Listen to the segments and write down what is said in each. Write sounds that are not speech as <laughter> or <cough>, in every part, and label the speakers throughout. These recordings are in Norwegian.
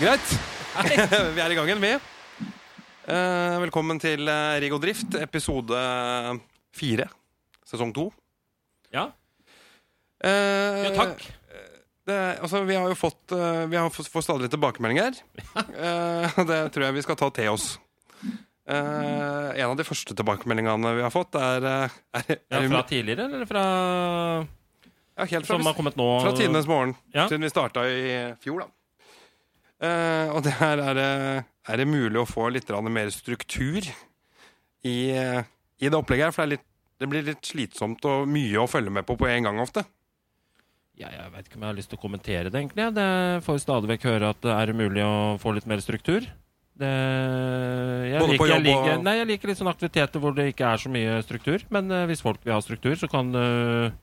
Speaker 1: Greit. <laughs> Vi er i gangen, vi. Eh, velkommen til eh, Rigg og Drift, episode eh, fire, sesong to.
Speaker 2: Ja,
Speaker 1: Eh,
Speaker 2: ja takk.
Speaker 1: Det, altså, vi har jo fått eh, Vi har fått, får stadig tilbakemeldinger.
Speaker 2: <laughs>
Speaker 1: Eh, det tror jeg vi skal ta til oss. Eh, en av de første tilbakemeldingene vi har fått, er, eh, er, er,
Speaker 2: Ja, fra tidligere, eller fra
Speaker 1: ja, helt fra,
Speaker 2: Som har kommet nå?
Speaker 1: fra tidenes morgen.
Speaker 2: Ja.
Speaker 1: Siden vi starta i fjor, da. Eh, og det her er det, er det mulig å få litt grann mer struktur i, eh, i det opplegget her. For det, er litt, det blir litt slitsomt og mye å følge med på på en gang ofte. <laughs>
Speaker 2: Ja, jeg veit ikke om jeg har lyst til å kommentere det, egentlig. Det får jo stadig vekk høre at det er mulig å få litt mer struktur. Det, jeg
Speaker 1: Både på
Speaker 2: liker, jeg
Speaker 1: jobb og-
Speaker 2: liker, Nei, jeg liker litt sånne aktiviteter hvor det ikke er så mye struktur. Men eh, hvis folk vil ha struktur, så kan eh,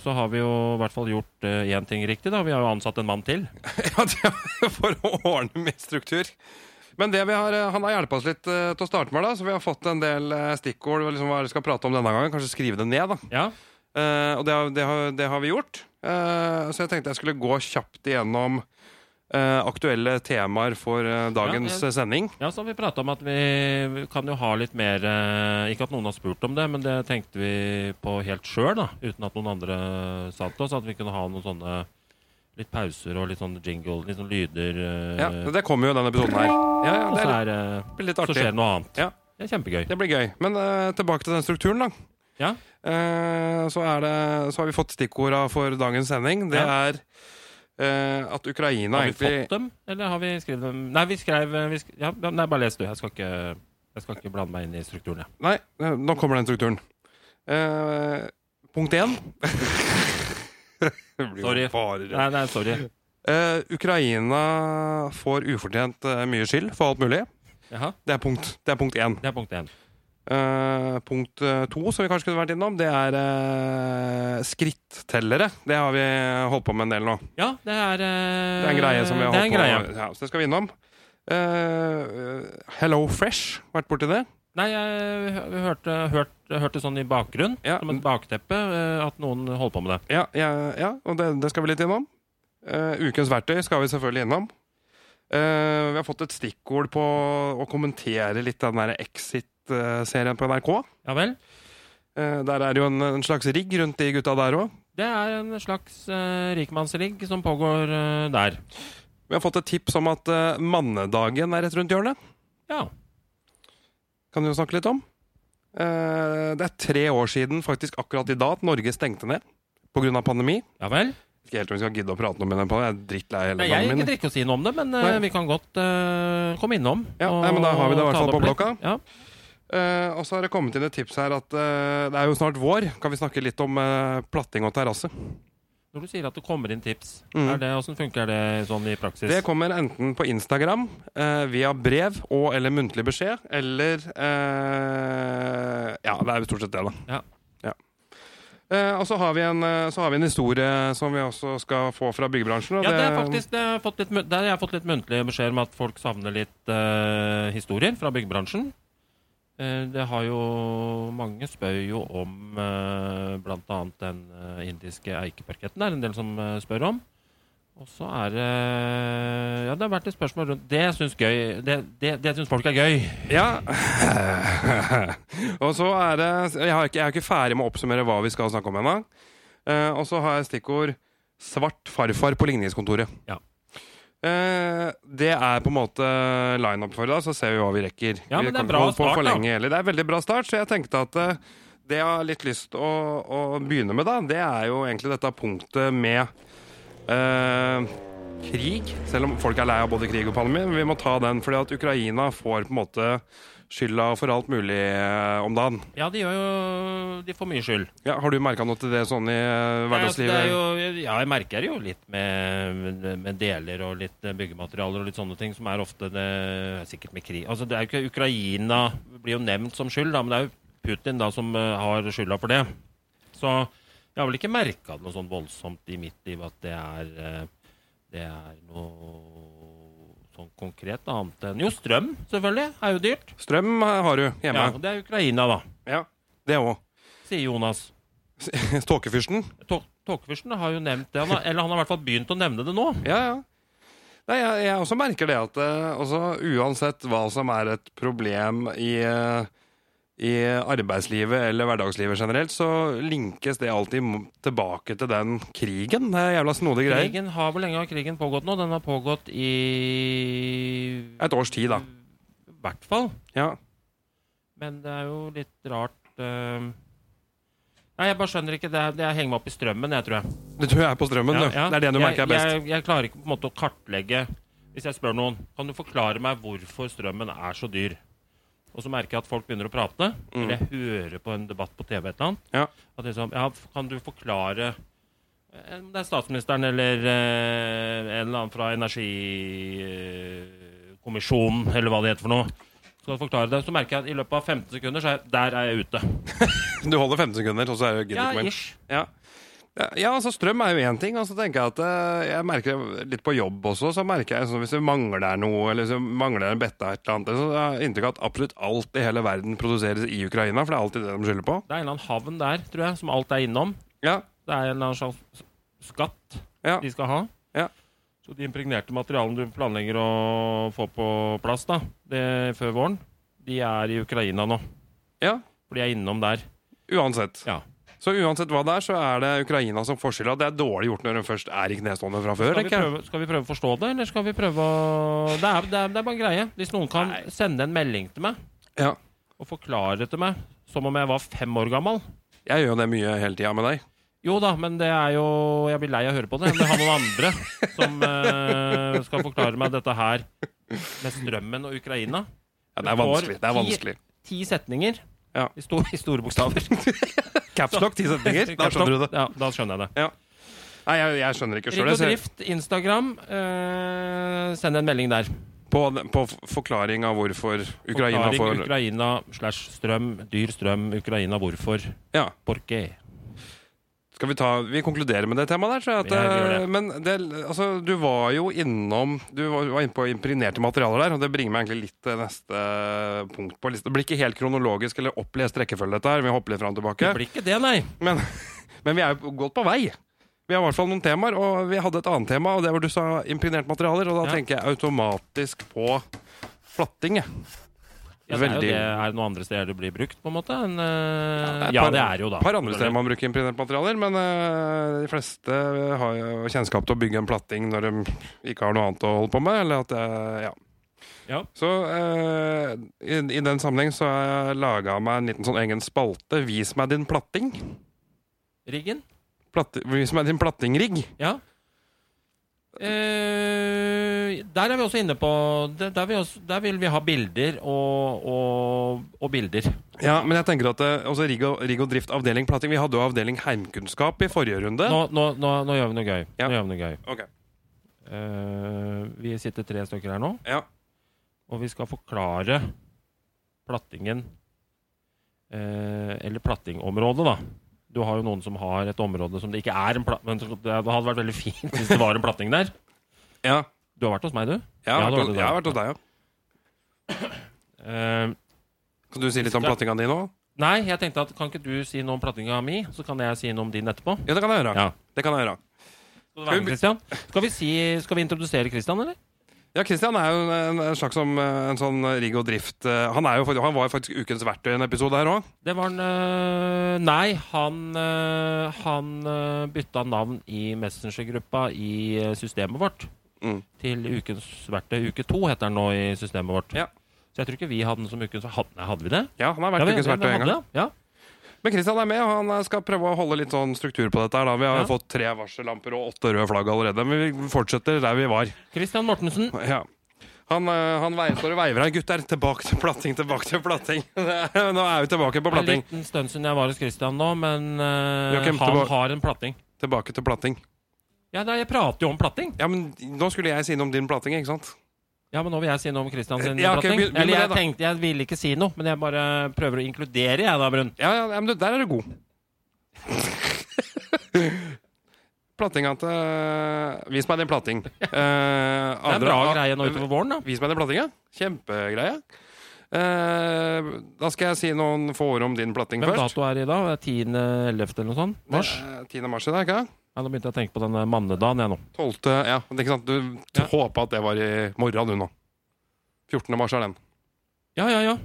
Speaker 2: Så har vi jo i hvert fall gjort eh, én ting riktig, da. Vi har jo ansatt en mann til.
Speaker 1: Ja, det- For å ordne mer struktur. Men det vi har, eh, han har hjulpet oss litt eh, til å starte med, da, så vi har fått en del eh, stikkord. Liksom, hva er det vi skal prate om denne gangen? Kanskje skrive det ned, da.
Speaker 2: Ja.
Speaker 1: Eh, og det har, det, har, det har vi gjort. Eh, så jeg tenkte jeg skulle gå kjapt igjennom eh, aktuelle temaer for eh, dagens
Speaker 2: Ja,
Speaker 1: eh, sending.
Speaker 2: Ja, så har vi prata om at vi kan jo ha litt mer eh, Ikke at noen har spurt om det, men det tenkte vi på helt sjøl, da. Uten at noen andre sa det til oss. At vi kunne ha noen sånne litt pauser og litt sånn jingle, litt sånn lyder. eh,
Speaker 1: Ja, det kommer jo i denne episoden her. Ja, ja,
Speaker 2: og
Speaker 1: det
Speaker 2: så,
Speaker 1: er-
Speaker 2: er, eh,
Speaker 1: det blir litt
Speaker 2: så skjer
Speaker 1: artig.
Speaker 2: det noe annet.
Speaker 1: Ja.
Speaker 2: Det er kjempegøy.
Speaker 1: Det blir gøy. Men eh, tilbake til den strukturen, da.
Speaker 2: Ja.
Speaker 1: Eh, så, er det, så har vi fått stikkorda for dagens sending. Det
Speaker 2: Ja.
Speaker 1: er eh, at Ukraina
Speaker 2: Har vi
Speaker 1: egentlig
Speaker 2: fått dem, eller har vi skrevet dem? Nei, vi skrev eh, vi sk ja, ja, Nei, bare les du. Jeg skal ikke, jeg skal ikke blande meg inn i strukturen, jeg.
Speaker 1: Nei, eh, nå kommer den strukturen. Eh, punkt
Speaker 2: <laughs>
Speaker 1: én Det blir jo
Speaker 2: Sorry.
Speaker 1: bare-
Speaker 2: Nei, nei, sorry.
Speaker 1: Eh, Ukraina får ufortjent eh, mye skyld for alt mulig.
Speaker 2: Jaha.
Speaker 1: Det er punkt, det er punkt én.
Speaker 2: Det er punkt én.
Speaker 1: Eh, punkt eh, to, som vi kanskje kunne vært innom, det er eh, skrittellere. Det har vi holdt på med en del nå.
Speaker 2: Ja, det er eh,
Speaker 1: Det er en greie som vi har
Speaker 2: det er
Speaker 1: holdt
Speaker 2: en
Speaker 1: på
Speaker 2: greie.
Speaker 1: med. Ja, så det skal vi innom. Eh, Hello Fresh, vært borti det?
Speaker 2: Nei, jeg hø- hørte, hørte, hørte sånn i bakgrunn,
Speaker 1: Ja.
Speaker 2: som et bakteppe, eh, at noen holdt på med det.
Speaker 1: Ja, ja, ja og det, det skal vi litt innom. Eh, ukens verktøy skal vi selvfølgelig innom. Eh, vi har fått et stikkord på å kommentere litt den der Exit-serien på NRK.
Speaker 2: Ja vel.
Speaker 1: Eh, Der er det jo en, en slags rigg rundt de gutta der òg.
Speaker 2: Det er en slags uh, rikmannsrigg som pågår eh, der.
Speaker 1: Vi har fått et tips om at eh, mannedagen er rett rundt hjørnet.
Speaker 2: Ja.
Speaker 1: Kan du jo snakke litt om? Eh, det er tre år siden faktisk akkurat i dag at Norge stengte ned pga. pandemi.
Speaker 2: Ja vel.
Speaker 1: Ikke helt om vi skal gidde å prate noe om den, pandemien. jeg er drittlei hele
Speaker 2: Nei, jeg
Speaker 1: dagen
Speaker 2: gidder
Speaker 1: min.
Speaker 2: ikke å si noe om det, men eh,
Speaker 1: Nei.
Speaker 2: vi kan godt eh, komme innom.
Speaker 1: Ja, nei, men da har vi det i
Speaker 2: og
Speaker 1: hvert
Speaker 2: ta
Speaker 1: fall på
Speaker 2: opp litt.
Speaker 1: blokka.
Speaker 2: Ja.
Speaker 1: Eh, og så har det kommet inn et tips her at eh, det er jo snart vår. Kan vi snakke litt om eh, platting og terrasse?
Speaker 2: Når du sier at det kommer inn tips,
Speaker 1: Mm.
Speaker 2: er det, hvordan funker det sånn i praksis?
Speaker 1: Det kommer enten på Instagram, eh, via brev og eller muntlig beskjed, eller eh, Ja, det er jo stort sett det, da.
Speaker 2: Ja.
Speaker 1: Ja. Eh, og så har, vi en, eh, så har vi en historie som vi også skal få fra byggebransjen. Og
Speaker 2: ja, det er faktisk, det har jeg fått litt, mun- der har jeg fått litt muntlig beskjed om at folk savner litt eh, historier fra byggebransjen. Eh, det har jo Mange spør jo om eh, blant annet den eh, indiske eikeparketten. Det er en del som eh, spør om. Og så er det Ja, det har vært et spørsmål rundt Det syns gøy Det, det, det syns folk er gøy.
Speaker 1: Ja. <laughs> og så er det Jeg har ikke- jeg er ikke ferdig med å oppsummere hva vi skal snakke om ennå. Eh, og så har jeg stikkord 'svart farfar på ligningskontoret'.
Speaker 2: Ja.
Speaker 1: Eh, det er på en måte line-up for i dag, så ser vi hva vi rekker.
Speaker 2: Ja,
Speaker 1: vi
Speaker 2: men det
Speaker 1: kan
Speaker 2: er bra
Speaker 1: ikke holde på
Speaker 2: start,
Speaker 1: for
Speaker 2: da.
Speaker 1: lenge, heller. Det er veldig bra start, så jeg tenkte at eh, det jeg har litt lyst å, å begynne med, da, det er jo egentlig dette punktet med eh, krig. Selv om folk er lei av både krig og pandemi. men Vi må ta den, fordi at Ukraina får på en måte skylda for alt mulig eh, om dagen.
Speaker 2: Ja, de gjør jo De får mye skyld.
Speaker 1: Ja, har du merka noe til det sånn i eh, hverdagslivet?
Speaker 2: Nei, altså, det er jo, ja, jeg merker det jo litt med, med deler og litt eh, byggematerialer og litt sånne ting, som er ofte det, sikkert med krig. Altså, det er jo ikke Ukraina blir jo nevnt som skyld, da, men det er jo Putin da som eh, har skylda for det. Så jeg har vel ikke merka noe sånn voldsomt i mitt liv at det er, eh, det er noe sånn konkret annet enn Jo, strøm, selvfølgelig, er jo dyrt.
Speaker 1: Strøm eh, har du
Speaker 2: Ja,
Speaker 1: hjemme.
Speaker 2: og det er Ukraina, da,
Speaker 1: Ja, det <laughs> òg.
Speaker 2: sier Jonas.
Speaker 1: Tåkefyrsten.
Speaker 2: Tå- Tåkefyrsten har jo nevnt det, han har, eller han har i hvert fall begynt å nevne det nå.
Speaker 1: Ja, ja. Nei, jeg, jeg også merker det at eh, altså, uansett hva som er et problem i, eh, i arbeidslivet eller hverdagslivet generelt, så linkes det alltid mo- tilbake til den krigen. Det er jævla snodige greier.
Speaker 2: Krigen har, Hvor lenge har krigen pågått nå? Den har pågått i
Speaker 1: Et års tid, da.
Speaker 2: I hvert fall.
Speaker 1: Ja.
Speaker 2: Men det er jo litt rart eh. Nei, jeg bare skjønner ikke. Det er, det er henger meg opp i strømmen, jeg, tror jeg.
Speaker 1: Det tror jeg er på strømmen,
Speaker 2: Ja,
Speaker 1: du.
Speaker 2: ja.
Speaker 1: Det er det du merker er best.
Speaker 2: Jeg, jeg, jeg klarer ikke på en måte å kartlegge Hvis jeg spør noen Kan du forklare meg hvorfor strømmen er så dyr? Og så merker jeg at folk begynner å prate
Speaker 1: Mm.
Speaker 2: Eller jeg hører på en debatt på TV et eller annet
Speaker 1: Ja.
Speaker 2: At det er sånn, ja, f- Kan du forklare eh, om det er statsministeren eller eh, en eller annen fra energikommisjonen, eller hva det heter for noe. Skal du forklare det, så merker jeg at i løpet av 15 sekunder, så er jeg, der er jeg ute.
Speaker 1: Du holder 15 sekunder, og så er det gidder
Speaker 2: Ja,
Speaker 1: ikke mer.
Speaker 2: ish.
Speaker 1: Ja. Ja, ja, altså Strøm er jo én ting. og så tenker Jeg at eh, jeg merker det litt på jobb også. så merker jeg sånn, Hvis det mangler noe, eller hvis det mangler en bette, et eller annet, så har jeg inntrykk av at absolutt alt i hele verden produseres i Ukraina. For det er alltid det de skylder på.
Speaker 2: Det er en eller annen havn der, tror jeg, som alt er innom.
Speaker 1: Ja,
Speaker 2: Det er en eller annen slags skatt
Speaker 1: Ja.
Speaker 2: de skal ha.
Speaker 1: Ja.
Speaker 2: Så de impregnerte materialene du planlegger å få på plass da, det, før våren, de er i Ukraina nå.
Speaker 1: ja.
Speaker 2: For de er innom der.
Speaker 1: Uansett.
Speaker 2: Ja.
Speaker 1: Så uansett hva det er, så er det Ukraina som får skylda. Det er dårlig gjort når hun først er i knestående fra før.
Speaker 2: Skal vi,
Speaker 1: tenker jeg.
Speaker 2: prøve, skal vi prøve å forstå det, eller skal vi prøve å Det er, det er, det er bare en greie. Hvis noen kan sende en melding til meg
Speaker 1: Ja.
Speaker 2: og forklare det til meg som om jeg var fem år gammel
Speaker 1: Jeg gjør jo det mye hele tida med deg.
Speaker 2: Jo da, men det er jo Jeg blir lei av å høre på det. Jeg vil ha noen andre
Speaker 1: <laughs>
Speaker 2: som eh, skal forklare meg dette her med strømmen og Ukraina.
Speaker 1: Ja, det er
Speaker 2: Du får
Speaker 1: vanskelig. det er
Speaker 2: ti-
Speaker 1: vanskelig.
Speaker 2: ti setninger
Speaker 1: Ja.
Speaker 2: i, sto- i store bokstaver.
Speaker 1: Caps lock,
Speaker 2: <laughs>
Speaker 1: ti <laughs> setninger. Da
Speaker 2: sånn-
Speaker 1: skjønner du det.
Speaker 2: Ja, da skjønner jeg det.
Speaker 1: Nei, jeg, jeg skjønner ikke
Speaker 2: Rigg og
Speaker 1: sjøl.
Speaker 2: Drift, Instagram, eh, send en melding der.
Speaker 1: På, på forklaring av hvorfor Ukraina
Speaker 2: Forklaring
Speaker 1: får
Speaker 2: Ukraina slash strøm, dyr strøm, Ukraina hvorfor,
Speaker 1: Ja.
Speaker 2: porke.
Speaker 1: Skal vi ta Vi konkluderer med det temaet der, tror jeg. At,
Speaker 2: Ja, vi gjør det.
Speaker 1: eh, Men det, altså, du var jo innom Du var, var inne på impregnerte materialer der, og det bringer meg egentlig litt til neste punkt på lista. Det blir ikke helt kronologisk eller opplest rekkefølge, dette her. Vi hopper litt fram og
Speaker 2: Det
Speaker 1: tilbake.
Speaker 2: blir ikke det, nei.
Speaker 1: Men, men vi er jo godt på vei. Vi har i hvert fall noen temaer, og vi hadde et annet tema, og det var du sa impregnert materialer, og da
Speaker 2: Ja.
Speaker 1: tenker jeg automatisk på flatting, jeg.
Speaker 2: Ja, det er, jo
Speaker 1: Veldig.
Speaker 2: det, er det noen andre steder det blir brukt, på en måte? enn, eh,
Speaker 1: et
Speaker 2: ja,
Speaker 1: par-
Speaker 2: det er jo da.
Speaker 1: Et par andre steder man bruker impregnert materialer, men eh, de fleste har jo kjennskap til å bygge en platting når de ikke har noe annet å holde på med. Eller at, eh, ja.
Speaker 2: Ja.
Speaker 1: Så eh, i, i den sammenheng så har jeg laga meg en liten sånn egen spalte. Vis meg din platting.
Speaker 2: Riggen?
Speaker 1: Platt, vis meg din plattingrigg.
Speaker 2: Ja. Eh, der er vi også inne på det- Der, vi også, der vil vi ha bilder og, og, og bilder.
Speaker 1: Ja, men jeg tenker at eh, også rigg og, rigg og drift avdeling platting. Vi hadde jo avdeling heimkunnskap i forrige runde.
Speaker 2: Nå, nå, nå, nå gjør vi noe gøy.
Speaker 1: Ja.
Speaker 2: Nå gjør vi noe gøy.
Speaker 1: Ok,
Speaker 2: Eh, vi sitter tre stykker her nå,
Speaker 1: Ja.
Speaker 2: og vi skal forklare plattingen eh, Eller plattingområdet, da. Du har jo noen som har et område som det ikke er en platt... Men det hadde vært veldig <laughs> fint hvis det var en platting der.
Speaker 1: Ja.
Speaker 2: Du har vært hos meg, du.
Speaker 1: Jeg har
Speaker 2: Ja,
Speaker 1: vært
Speaker 2: det var
Speaker 1: hos-
Speaker 2: det
Speaker 1: jeg har
Speaker 2: da.
Speaker 1: vært hos deg, ja.
Speaker 2: Eh,
Speaker 1: Kan du si litt om
Speaker 2: Skal-
Speaker 1: plattinga di nå?
Speaker 2: nei, jeg tenkte at kan ikke du si noe om plattinga mi, så kan jeg si noe om din etterpå?
Speaker 1: Ja, det kan jeg gjøre.
Speaker 2: Ja.
Speaker 1: Det kan jeg gjøre.
Speaker 2: Skal, du være med, Christian? skal, vi si, skal vi introdusere Christian, eller?
Speaker 1: Ja, Kristian er jo en, en slags som, eh, en sånn rigg og drift eh, Han, er jo, fakt- han var jo faktisk ukens verktøy i en episode her òg.
Speaker 2: Det var en øh, Nei, han, øh, han øh, bytta navn i Messenger-gruppa i øh, systemet vårt
Speaker 1: Mm.
Speaker 2: til Ukens verktøy. Uke to heter den nå i systemet vårt.
Speaker 1: Ja.
Speaker 2: Så jeg tror ikke vi hadde den som ukens Hadde, nei, hadde vi det?
Speaker 1: Ja, han har vært
Speaker 2: vi,
Speaker 1: ukens
Speaker 2: vi- vi
Speaker 1: verktøy en gang.
Speaker 2: hadde det, Ja.
Speaker 1: Men Kristian er med, og han eh, skal prøve å holde litt sånn struktur på dette. her da. Vi har
Speaker 2: Ja.
Speaker 1: jo fått tre varsellamper og åtte røde flagg allerede, men vi fortsetter der vi var.
Speaker 2: Christian Mortensen.
Speaker 1: Ja. Han, eh, han veier, står og veiver her. Gutter, tilbake til platting, tilbake til platting! <laughs> Nå er vi tilbake på
Speaker 2: Det er en
Speaker 1: platting.
Speaker 2: liten stund siden jeg var hos Christian nå, men øh,
Speaker 1: Joakim,
Speaker 2: han
Speaker 1: tilbake-
Speaker 2: har en platting.
Speaker 1: Tilbake til platting.
Speaker 2: Ja, nei, jeg prater jo om platting.
Speaker 1: Ja, men nå skulle jeg si noe om din platting, ikke sant?
Speaker 2: Ja, men nå vil jeg si noe om Christian sin
Speaker 1: Ja, ok,
Speaker 2: platting.
Speaker 1: begynn- begynn med
Speaker 2: Eller jeg
Speaker 1: det, da.
Speaker 2: tenkte jeg ville ikke si noe, men jeg bare prøver å inkludere, jeg da, Brun.
Speaker 1: Ja, ja, ja, men du, der er du god. <laughs> Plattinga til Vis meg din platting. Eh,
Speaker 2: Det er en
Speaker 1: andre-
Speaker 2: bra greie nå utover våren, da.
Speaker 1: Vis meg din platting, ja. Kjempegreie. Eh, da skal jeg si noen få ord om din platting
Speaker 2: Hvem
Speaker 1: først.
Speaker 2: dato er det i dag? 10.11. eller noe sånt? Mars?
Speaker 1: Det er 10. mars i dag, ikke
Speaker 2: Ja, da begynte jeg å tenke på denne mannedagen, jeg nå.
Speaker 1: 12. Ja, men det er ikke sant? Du
Speaker 2: Ja.
Speaker 1: håper håpa at det var i morgen, du nå. 14. mars er den.
Speaker 2: Ja, ja, ja.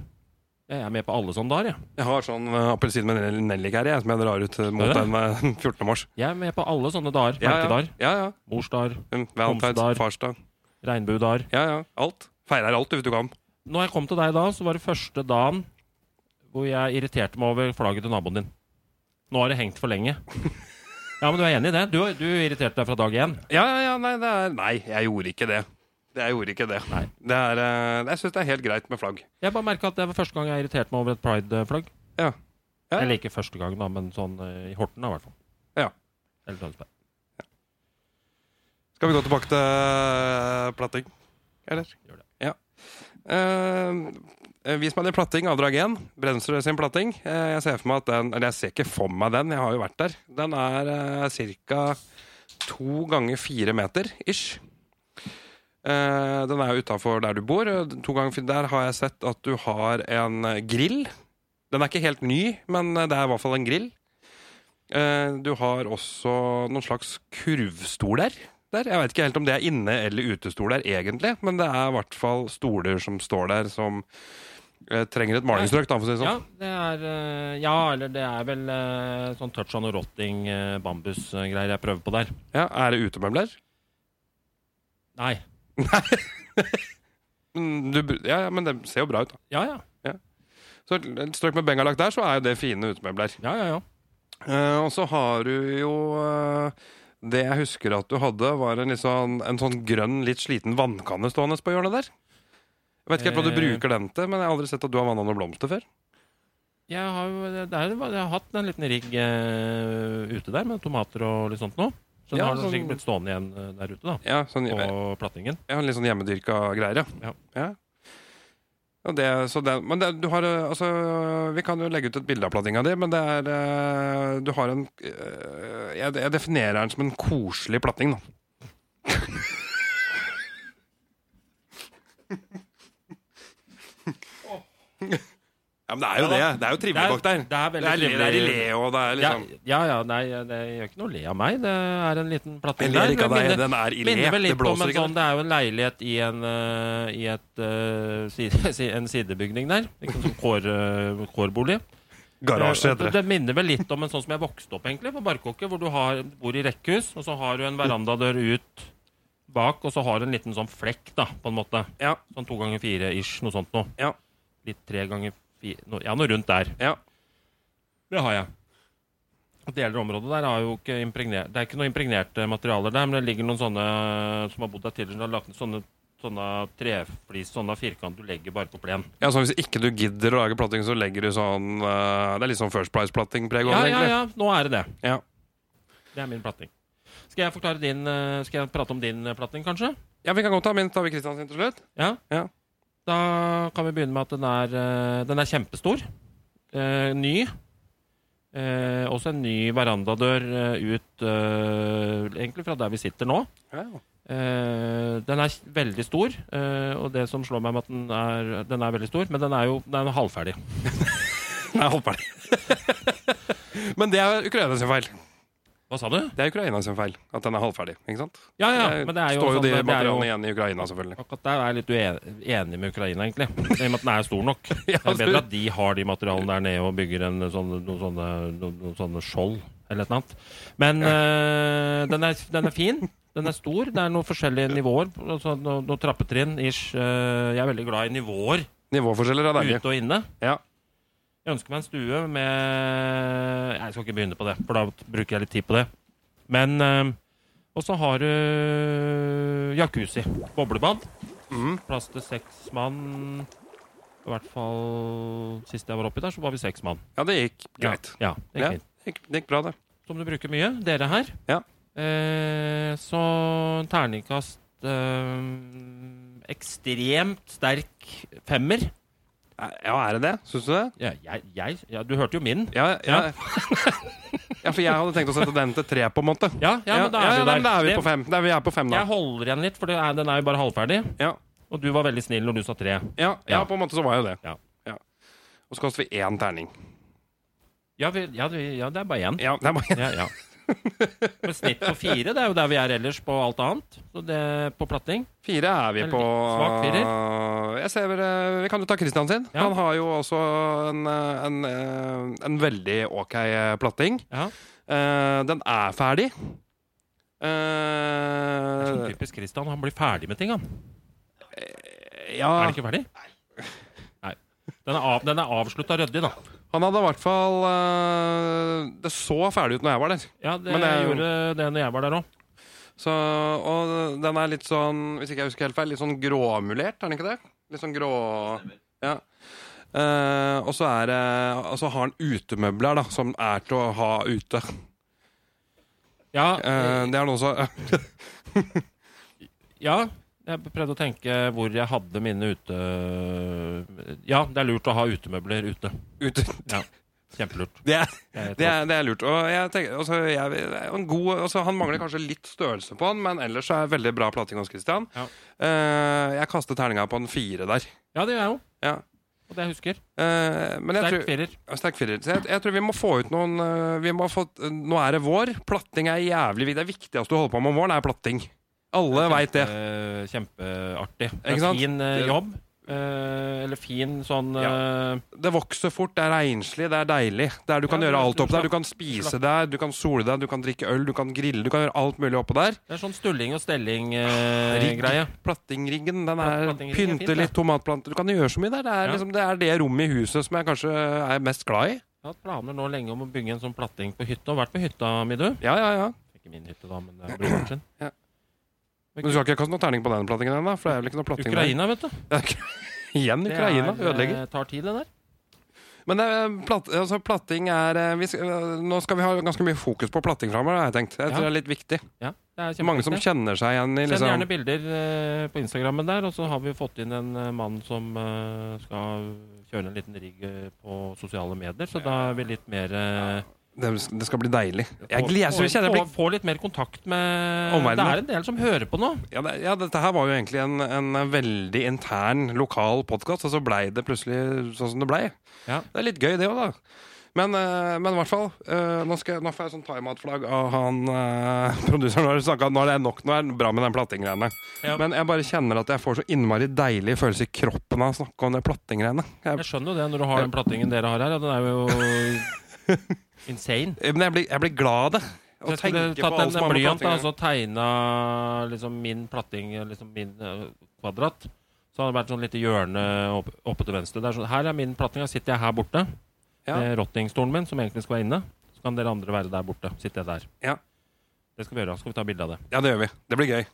Speaker 2: Jeg er med på alle sånne dager, jeg.
Speaker 1: Jeg har sånn eh, appelsin med nell- nellik her, jeg, som jeg drar ut eh, mot
Speaker 2: Har du
Speaker 1: den eh, <laughs> 14. mars.
Speaker 2: Jeg er med på alle sånne dager.
Speaker 1: Ja, ja.
Speaker 2: Merkedager.
Speaker 1: Ja, ja.
Speaker 2: Morsdager.
Speaker 1: Mm, Valentine's,
Speaker 2: Homsedager.
Speaker 1: farsdag.
Speaker 2: Regnbuedager.
Speaker 1: Ja, ja. Alt. Feirer alt, du vet du kan.
Speaker 2: Når jeg kom til deg da, så var det første dagen hvor jeg irriterte meg over flagget til naboen din. Nå har det hengt
Speaker 1: <laughs>
Speaker 2: for lenge. Ja, men du er enig i det? Du, du irriterte deg fra dag én.
Speaker 1: Ja, ja, ja. Nei, det er, nei jeg gjorde ikke det. Det- Jeg gjorde ikke det.
Speaker 2: Nei.
Speaker 1: det er, eh, jeg syns det er helt greit med flagg.
Speaker 2: Jeg bare merka at det var første gang jeg irriterte meg over et pride-flagg.
Speaker 1: Ja. Ja.
Speaker 2: Eller ikke første gang, da, men sånn eh, i Horten, da, i hvert fall.
Speaker 1: Ja.
Speaker 2: Eller sånn. Tønsberg.
Speaker 1: Skal vi gå tilbake til platting, eller?
Speaker 2: Gjør det.
Speaker 1: Ja. Eh, vis meg din platting, avdrag 1. Brensrud sin platting. Eh, jeg ser for meg at den, eller jeg ser ikke for meg den, jeg har jo vært der. Den er eh, ca. to ganger fire meter, ish. Eh, den er jo utafor der du bor. eh, To ganger fire, der har jeg sett at du har en eh, grill. Den er ikke helt ny, men eh, det er i hvert fall en grill. Eh, du har også noen slags kurvstoler der. Jeg vet ikke helt om det er inne- eller utestoler egentlig, men det er i hvert fall stoler som står der som eh, trenger et malingsstrøk, da, for å si det
Speaker 2: Ja,
Speaker 1: sånn.
Speaker 2: det er eh, Ja, eller det er vel eh, sånn touch on og rotting, eh, bambusgreier jeg prøver på der.
Speaker 1: Ja, er det utemøbler?
Speaker 2: Nei.
Speaker 1: Mm, Du, br- ja, ja, men det ser jo bra ut, da.
Speaker 2: Ja, ja.
Speaker 1: Så et et strøk med bengalakk der, så er jo det fine utemøbler.
Speaker 2: Ja, ja, ja.
Speaker 1: Eh, og så har du jo eh, Det jeg husker at du hadde, var en, litt sånn, en sånn grønn, litt sliten vannkanne stående på hjørnet der. Jeg vet ikke helt hva du
Speaker 2: Eh.
Speaker 1: bruker den til, men jeg har aldri sett at du har vanna noen blomster før.
Speaker 2: Jeg har jo det er, jeg har hatt en liten rigg eh, ute der med tomater og litt sånt nå. Så den
Speaker 1: Ja,
Speaker 2: har nok
Speaker 1: sånn-
Speaker 2: sikkert blitt stående igjen eh, der ute, da.
Speaker 1: Ja, sånn,
Speaker 2: På plattingen.
Speaker 1: Ja, litt sånn hjemmedyrka greier, ja.
Speaker 2: Ja.
Speaker 1: Og det, så det, men det, du har eh, Altså, vi kan jo legge ut et bilde av plattinga di, men det er eh, Du har en eh, jeg, jeg definerer den som en koselig platting, da. Ja, men det er jo det. Det er jo trivelig bak der.
Speaker 2: det er
Speaker 1: Det er, det er i le, og det er
Speaker 2: Ja,
Speaker 1: liksom
Speaker 2: ja, ja, nei, det gjør ikke noe le av meg. Det er en liten
Speaker 1: Jeg
Speaker 2: platting
Speaker 1: ler ikke
Speaker 2: men
Speaker 1: av deg.
Speaker 2: minner-
Speaker 1: Den er i le.
Speaker 2: Minner vel
Speaker 1: Det
Speaker 2: litt om
Speaker 1: blåser
Speaker 2: en
Speaker 1: ikke.
Speaker 2: sånn, det er jo en leilighet i en, eh, i et, eh, side, si- <laughs> en sidebygning der. Ikke en sånn kår, eh, kårbolig.
Speaker 1: Garasje, heter det.
Speaker 2: det. Det minner vel litt om en sånn som jeg vokste opp egentlig, på Barkåker, hvor du har, bor i rekkehus, og så har du en verandadør ut bak, og så har du en liten sånn flekk, da, på en måte.
Speaker 1: Ja.
Speaker 2: Sånn to ganger fire-ish, noe sånt noe.
Speaker 1: Ja.
Speaker 2: Litt tre ganger fire, no, ja, noe rundt der.
Speaker 1: Ja.
Speaker 2: Det har jeg. Og Deler av området der har jo ikke impregnert Det er ikke noe impregnerte materialer der, men det ligger noen sånne eh, som har bodd der tidligere, som har lagt ned sånne, sånne treflis, sånne firkant du legger bare på plen.
Speaker 1: Ja, så Hvis ikke du gidder å lage platting, så legger du sånn eh, Det er litt sånn First Price-platting-preg
Speaker 2: Ja,
Speaker 1: over,
Speaker 2: ja,
Speaker 1: egentlig.
Speaker 2: ja, nå er det det.
Speaker 1: Ja.
Speaker 2: Det er min platting. Skal jeg forklare din eh, Skal jeg prate om din eh, platting, kanskje?
Speaker 1: ja, vi kan godt ta min. Tar vi Kristian sin til slutt?
Speaker 2: Ja.
Speaker 1: Ja.
Speaker 2: Da kan vi begynne med at den er, eh, den er kjempestor. Eh, ny. Eh, også en ny verandadør eh, ut eh, egentlig fra der vi sitter nå.
Speaker 1: Ja.
Speaker 2: Eh, den er kj- veldig stor, eh, og det som slår meg med at den er, den er veldig stor, men den er jo den er halvferdig.
Speaker 1: Nei, hopp er det. <laughs> Men det er Ukraina sin feil.
Speaker 2: Hva sa du?
Speaker 1: Det er Ukraina sin feil at den er halvferdig. ikke sant?
Speaker 2: Ja, ja, men det er jo
Speaker 1: står jo
Speaker 2: sånn,
Speaker 1: de
Speaker 2: det er jo-
Speaker 1: materialene igjen i Ukraina, selvfølgelig.
Speaker 2: Akkurat der er jeg litt uen- enig med Ukraina, egentlig. I og med at den er stor nok. Det er bedre at de har de materialene der nede og bygger en sånn, noen, sånne, noen, noen sånne skjold eller et eller annet. Men eh, den, er, den er fin. Den er stor. Det er noen forskjellige nivåer. Altså, noen, noen trappetrinn ish. Eh, jeg er veldig glad i nivåer
Speaker 1: Nivåforskjeller er deilig.
Speaker 2: ute og inne.
Speaker 1: Ja.
Speaker 2: Jeg ønsker meg en stue med Jeg skal ikke begynne på det, for da bruker jeg litt tid på det. Men eh, Og så har du jacuzzi. Boblebad.
Speaker 1: Mm.
Speaker 2: Plass til seks mann. I hvert fall sist jeg var oppi der, så var vi seks mann.
Speaker 1: ja, det gikk greit.
Speaker 2: Ja, det gikk
Speaker 1: Ja.
Speaker 2: fint.
Speaker 1: Det gikk, det gikk bra, det.
Speaker 2: Som du bruker mye, dere her.
Speaker 1: Ja.
Speaker 2: Eh, så en terningkast eh, Ekstremt sterk femmer.
Speaker 1: Ja, er det det? Syns du det?
Speaker 2: Ja, jeg, jeg, ja, du hørte jo min.
Speaker 1: Ja, ja. <laughs> ja, for jeg hadde tenkt å sette den til tre, på en måte.
Speaker 2: Ja, ja, men da er
Speaker 1: ja,
Speaker 2: vi
Speaker 1: ja,
Speaker 2: der.
Speaker 1: men da er vi
Speaker 2: Det-
Speaker 1: på fem. Da er vi er på fem, da.
Speaker 2: Jeg holder igjen litt, for det er, den er jo bare halvferdig.
Speaker 1: Ja.
Speaker 2: Og du var veldig snill når du sa tre.
Speaker 1: Ja, ja,
Speaker 2: Ja.
Speaker 1: på en måte så var jo det.
Speaker 2: Ja.
Speaker 1: Og så kaster vi én terning.
Speaker 2: Ja, vi, ja, vi, ja det er bare én.
Speaker 1: Ja, det er bare
Speaker 2: Ja, ja. Med snitt på fire, det er jo der vi er ellers på alt annet. Så det, på platting.
Speaker 1: Fire er vi
Speaker 2: Veldig
Speaker 1: på
Speaker 2: svak
Speaker 1: Jeg ser, eh, Vi kan jo ta Christian sin.
Speaker 2: Ja.
Speaker 1: Han har jo også en, eh, en, eh, en veldig ok eh, platting.
Speaker 2: Ja.
Speaker 1: Eh, den er ferdig.
Speaker 2: Det er sånn
Speaker 1: Eh,
Speaker 2: typisk Christian. Han blir ferdig med ting, han.
Speaker 1: ja,
Speaker 2: Er den ikke ferdig? Nei. Den er, av, den er avslutta ryddig, da.
Speaker 1: han hadde i hvert fall eh, Det så ferdig ut når jeg var der.
Speaker 2: Ja, det
Speaker 1: Men det er jo-
Speaker 2: gjorde det når jeg var der òg.
Speaker 1: Så, og den er litt sånn, hvis ikke jeg husker helt feil, litt sånn gråmulert, er den ikke det? Litt sånn grå... Ja. Eh, og så er det Og så har han utemøbler, da, som er til å ha ute.
Speaker 2: Ja,
Speaker 1: Eh, det er noe så <laughs>
Speaker 2: ja, jeg prøvde å tenke hvor jeg hadde mine ute... Ja, det er lurt å ha utemøbler ute.
Speaker 1: ute.
Speaker 2: Ja, Kjempelurt.
Speaker 1: Det er,
Speaker 2: Jeg
Speaker 1: det, er, det er lurt. Og jeg tenker, altså, jeg, en god, altså, han mangler kanskje litt størrelse på han, men ellers er det veldig bra plating hos Christian.
Speaker 2: Ja.
Speaker 1: Eh, jeg kastet terninga på en fire der.
Speaker 2: Ja, det gjør jeg jo.
Speaker 1: Ja.
Speaker 2: Og det jeg husker.
Speaker 1: Eh, men jeg tror,
Speaker 2: Sterk firer.
Speaker 1: Ja, Sterk firer. Så jeg, jeg tror vi må få ut noen øh, vi må få, Nå er det vår. Platting er jævlig viktig. Det viktigste du holder på med om våren, er platting. Alle veit det.
Speaker 2: Kjempe- Kjempeartig. Det
Speaker 1: Ikke
Speaker 2: er
Speaker 1: sant?
Speaker 2: fin eh,
Speaker 1: Det-
Speaker 2: jobb. Eh, eller fin sånn eh,
Speaker 1: Det vokser fort, det er renslig, det er deilig. Det er, du kan
Speaker 2: Ja,
Speaker 1: gjøre
Speaker 2: du-
Speaker 1: alt
Speaker 2: du
Speaker 1: oppå der.
Speaker 2: slapp-
Speaker 1: Du kan spise der, du kan sole deg, du kan drikke øl, du kan grille, du kan gjøre alt mulig oppå der.
Speaker 2: Det er sånn stulling og eh, stelling-greie.
Speaker 1: Rigg. Plattingriggen, den
Speaker 2: Ja,
Speaker 1: er
Speaker 2: plattingringen er fint,
Speaker 1: Pynte
Speaker 2: det.
Speaker 1: litt tomatplanter. Du kan gjøre så mye der. Det er,
Speaker 2: Ja.
Speaker 1: liksom, det er det rommet i huset som jeg kanskje er mest glad i.
Speaker 2: jeg har hatt planer nå lenge om å bygge en sånn platting på hytta. Og vært på hytta mi, du.
Speaker 1: Ja, ja, ja.
Speaker 2: Ikke min hytte, da, men eh, det er broren sin.
Speaker 1: Ja. Men du skal ikke kaste noe terning på den plattingen ennå? For det er vel ikke noe platting der.
Speaker 2: Ukraina, vet du.
Speaker 1: Igjen
Speaker 2: Det
Speaker 1: Ukraina.
Speaker 2: er, eh,
Speaker 1: Ødelegger.
Speaker 2: tar tid, det der.
Speaker 1: Men det, er platt, altså, platting er eh, vi, skal- eh, Nå skal vi ha ganske mye fokus på platting framover, har jeg tenkt. Jeg
Speaker 2: Ja.
Speaker 1: tror det er litt viktig.
Speaker 2: Ja, det er
Speaker 1: Så mange som
Speaker 2: kjempeviktig.
Speaker 1: kjenner seg igjen i
Speaker 2: Send
Speaker 1: liksom
Speaker 2: gjerne bilder eh, på Instagrammen der, og så har vi fått inn en eh, mann som eh, skal kjøre en liten rigg eh, på sosiale medier, så da er vi litt mer eh,
Speaker 1: det, det skal bli deilig. Jeg gleder jeg, så jeg kjenner jeg
Speaker 2: få, få litt mer kontakt med
Speaker 1: Omverdenen.
Speaker 2: Det er en del som hører på nå.
Speaker 1: blir- ja, det, ja, dette her var jo egentlig en, en veldig intern, lokal podkast, og så blei det plutselig sånn som det blei.
Speaker 2: Ja.
Speaker 1: Det er litt gøy, det òg, da. Men, eh, men i hvert fall, eh, nå, skal, jeg- nå får jeg sånn timeout-flagg av han eh, <laughs> produseren vår. snakket at Nå er det nok, nå er det bra med den plattinggreiene.
Speaker 2: Ja.
Speaker 1: Men jeg bare kjenner at jeg får så innmari deilig følelse i kroppen av å snakke om det plattinggreiene. Jeg-
Speaker 2: Jeg skjønner jo det når du har den plattingen dere har her. Ja, den er
Speaker 1: <laughs>
Speaker 2: jo insane.
Speaker 1: eh, Men jeg blir, jeg blir glad av det. Å
Speaker 2: Så jeg skulle
Speaker 1: tenke på
Speaker 2: tatt
Speaker 1: alt
Speaker 2: en
Speaker 1: som har med
Speaker 2: blyant
Speaker 1: platting
Speaker 2: da, og
Speaker 1: å gjøre.
Speaker 2: så tegna liksom min platting, liksom min eh, kvadrat. Så hadde det vært sånn lite hjørne opp, oppe til venstre. Der, sånn, her er min platting, da sitter jeg her borte.
Speaker 1: Ja.
Speaker 2: Med rottingstolen min, som egentlig skal være inne. Så kan dere andre være der borte. Sitter jeg der.
Speaker 1: Ja.
Speaker 2: Det skal vi gjøre. Skal vi ta bilde av det.
Speaker 1: Ja, det gjør vi. Det blir gøy.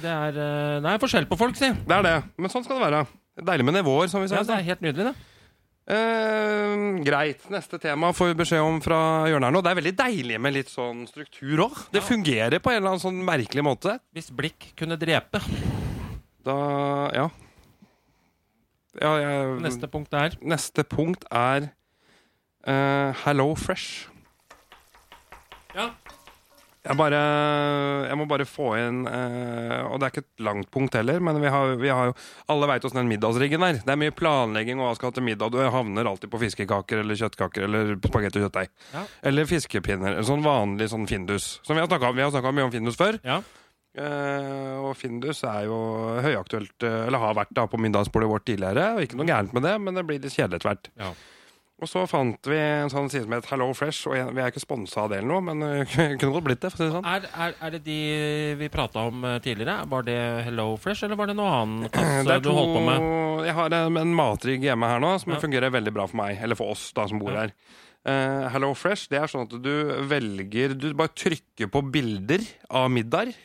Speaker 2: Det er, eh, det er forskjell på folk, si.
Speaker 1: Det er det. Men sånn skal det være. Deilig med nivåer, som vi sa. i
Speaker 2: Ja, det
Speaker 1: stad.
Speaker 2: er helt nydelig, det.
Speaker 1: Eh, greit. Neste tema får vi beskjed om fra hjørnet her nå. Det er veldig deilig med litt sånn struktur òg. Det fungerer på en eller annen sånn merkelig måte.
Speaker 2: Hvis blikk kunne drepe.
Speaker 1: Da Ja. ja jeg,
Speaker 2: Neste punkt er
Speaker 1: neste punkt er eh, Hello Fresh.
Speaker 2: Ja.
Speaker 1: Jeg, bare, jeg må bare få inn eh, Og det er ikke et langt punkt heller, men vi har, vi har jo alle veit åssen den middagsriggen er. Det er mye planlegging og hva skal ha til middag. Du havner alltid på fiskekaker eller kjøttkaker eller spagetti og kjøttdeig.
Speaker 2: Ja.
Speaker 1: Eller fiskepinner. eller Sånn vanlig sånn Findus. Som vi har snakka om. Vi har snakka mye om Findus før.
Speaker 2: Ja.
Speaker 1: Eh, og Findus er jo høyaktuelt, eh, eller har vært da på middagsbordet vårt tidligere. Og ikke noe gærent med det, men det blir litt kjedelig etter hvert.
Speaker 2: Ja.
Speaker 1: Og så fant vi en sånn side som het Hello Fresh, og jeg- vi er ikke sponsa av det eller noe, men eh, <laughs> kunne godt blitt det, for å si det sånn.
Speaker 2: Er, er, er det de vi prata om eh, tidligere? Var det Hello Fresh, eller var det noe annen
Speaker 1: <clears throat>
Speaker 2: kasse
Speaker 1: Eh, Det er
Speaker 2: du holdt på med?
Speaker 1: Jeg har eh, en, en matrigg hjemme her nå som
Speaker 2: Ja.
Speaker 1: fungerer veldig bra for meg, eller for oss da som bor
Speaker 2: Ja.
Speaker 1: her. Eh, Hello Fresh, det er sånn at du velger Du bare trykker på bilder av middager,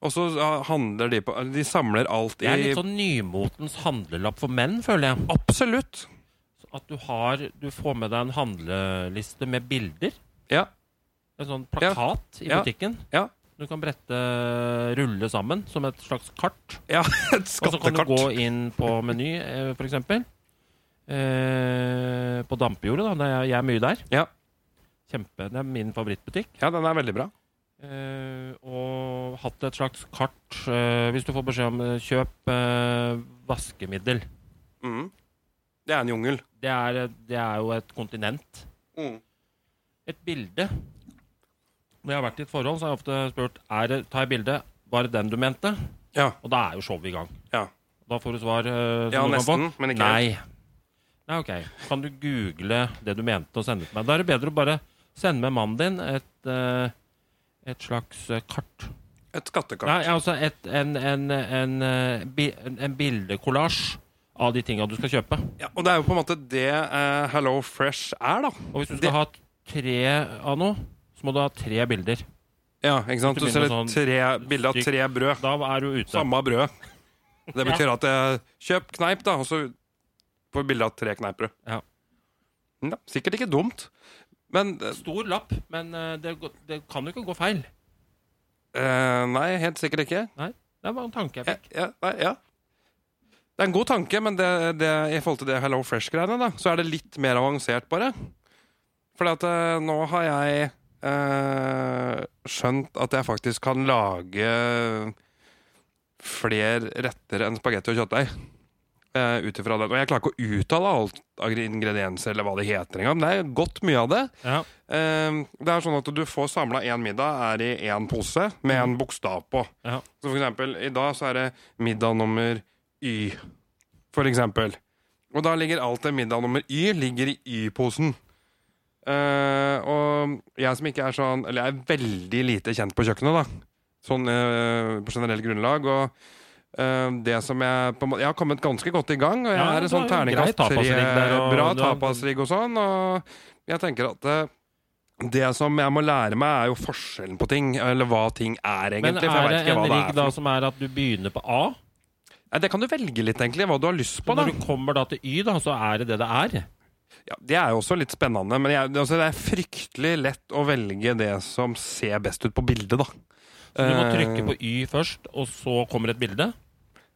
Speaker 1: og så ah, handler de på De samler alt
Speaker 2: Det er
Speaker 1: i
Speaker 2: litt sånn nymotens handlelapp for menn, føler jeg.
Speaker 1: Absolutt.
Speaker 2: At du, har, du får med deg en handleliste med bilder.
Speaker 1: Ja.
Speaker 2: En sånn plakat i
Speaker 1: Ja.
Speaker 2: butikken.
Speaker 1: Ja.
Speaker 2: Du kan brette rulle sammen som et slags kart.
Speaker 1: Ja, <laughs> et
Speaker 2: Og så kan du
Speaker 1: skattekart.
Speaker 2: gå inn på Meny, eh, for eksempel. Eh, på Dampejordet, da. der Jeg, jeg er mye der.
Speaker 1: Ja.
Speaker 2: Kjempe, det er min favorittbutikk.
Speaker 1: Ja, den er veldig bra.
Speaker 2: Eh, og hatt et slags kart eh, Hvis du får beskjed om eh, kjøp eh, vaskemiddel. eh,
Speaker 1: Mhm. Det er en jungel.
Speaker 2: Det er, det er jo et kontinent. Et bilde Når jeg har vært i et forhold, så har jeg ofte spurt er det, tar jeg bilde. Var det den du mente?
Speaker 1: Ja.
Speaker 2: Og da er jo showet i gang.
Speaker 1: Ja.
Speaker 2: Da får du svar. eh, som
Speaker 1: Ja,
Speaker 2: du kan få.
Speaker 1: nesten, men ikke
Speaker 2: Nei. Nei, ok. Kan du google det du mente, og sende det til meg? Da er det bedre å bare sende med mannen din et, eh, et slags eh, kart.
Speaker 1: Et skattekart.
Speaker 2: Nei, altså et, en, en, en, eh, bi- en, en bildekollasj av de tinga du skal kjøpe.
Speaker 1: Ja, og det er jo på en måte det eh, Hello Fresh er, da.
Speaker 2: Og hvis du skal
Speaker 1: Det-
Speaker 2: ha tre av noe, så må du ha tre bilder.
Speaker 1: Ja, ikke sant?
Speaker 2: Du
Speaker 1: Du ser et
Speaker 2: begynner med sånn
Speaker 1: tre, bilde av
Speaker 2: stryk-
Speaker 1: tre brød.
Speaker 2: Da er du ute.
Speaker 1: Samme brød. Det betyr at eh, kjøp kneip, da, og så får du bilde av tre kneippbrød.
Speaker 2: Ja.
Speaker 1: Ja, sikkert ikke dumt, men eh,
Speaker 2: Stor lapp, men eh, det, gå- det kan jo ikke gå feil.
Speaker 1: eh, Nei, helt sikkert ikke.
Speaker 2: Det var en tanke jeg
Speaker 1: Ja,
Speaker 2: fikk.
Speaker 1: ja, nei, ja. Det er en god tanke, men det, det, i forhold til det Hello Fresh-greiene, da, så er det litt mer avansert, bare. Fordi at eh, nå har jeg eh, skjønt at jeg faktisk kan lage flere retter enn spagetti og kjøttdeig. Uh, ut ifra den. Og jeg klarer ikke å uttale alt av ingredienser eller hva det heter engang. men Det er godt mye av det.
Speaker 2: Ja.
Speaker 1: Eh, det er sånn at du får samla én middag er i én pose med en bokstav på.
Speaker 2: Ja.
Speaker 1: Så for eksempel, i dag så er det middag nummer Y, for eksempel. Og da ligger alt det middag nummer Y ligger i Y-posen. Eh, og jeg som ikke er sånn Eller jeg er veldig lite kjent på kjøkkenet, da. Sånn eh, på generelt grunnlag. Og eh, det som jeg på en måte Jeg har kommet ganske godt i gang. Og jeg
Speaker 2: Ja,
Speaker 1: er en
Speaker 2: du har
Speaker 1: sånn
Speaker 2: jo en grei
Speaker 1: terningkast tre.
Speaker 2: tapasrigg der, og
Speaker 1: Bra
Speaker 2: du har-
Speaker 1: tapasrigg og sånn. Og jeg tenker at eh, det som jeg må lære meg, er jo forskjellen på ting. Eller hva ting er,
Speaker 2: Men
Speaker 1: egentlig. for jeg
Speaker 2: er det
Speaker 1: vet ikke
Speaker 2: en
Speaker 1: hva det
Speaker 2: rigg
Speaker 1: er.
Speaker 2: da
Speaker 1: for noe.
Speaker 2: som er at du begynner på A?
Speaker 1: Nei, det kan du velge litt, egentlig. Hva du har lyst
Speaker 2: Så
Speaker 1: på, da.
Speaker 2: når du kommer da til Y, da, så er det det det er?
Speaker 1: Ja, det er jo også litt spennende, men jeg, altså, det er fryktelig lett å velge det som ser best ut på bildet, da.
Speaker 2: Så du må
Speaker 1: Eh.
Speaker 2: trykke på Y først, og så kommer et bilde?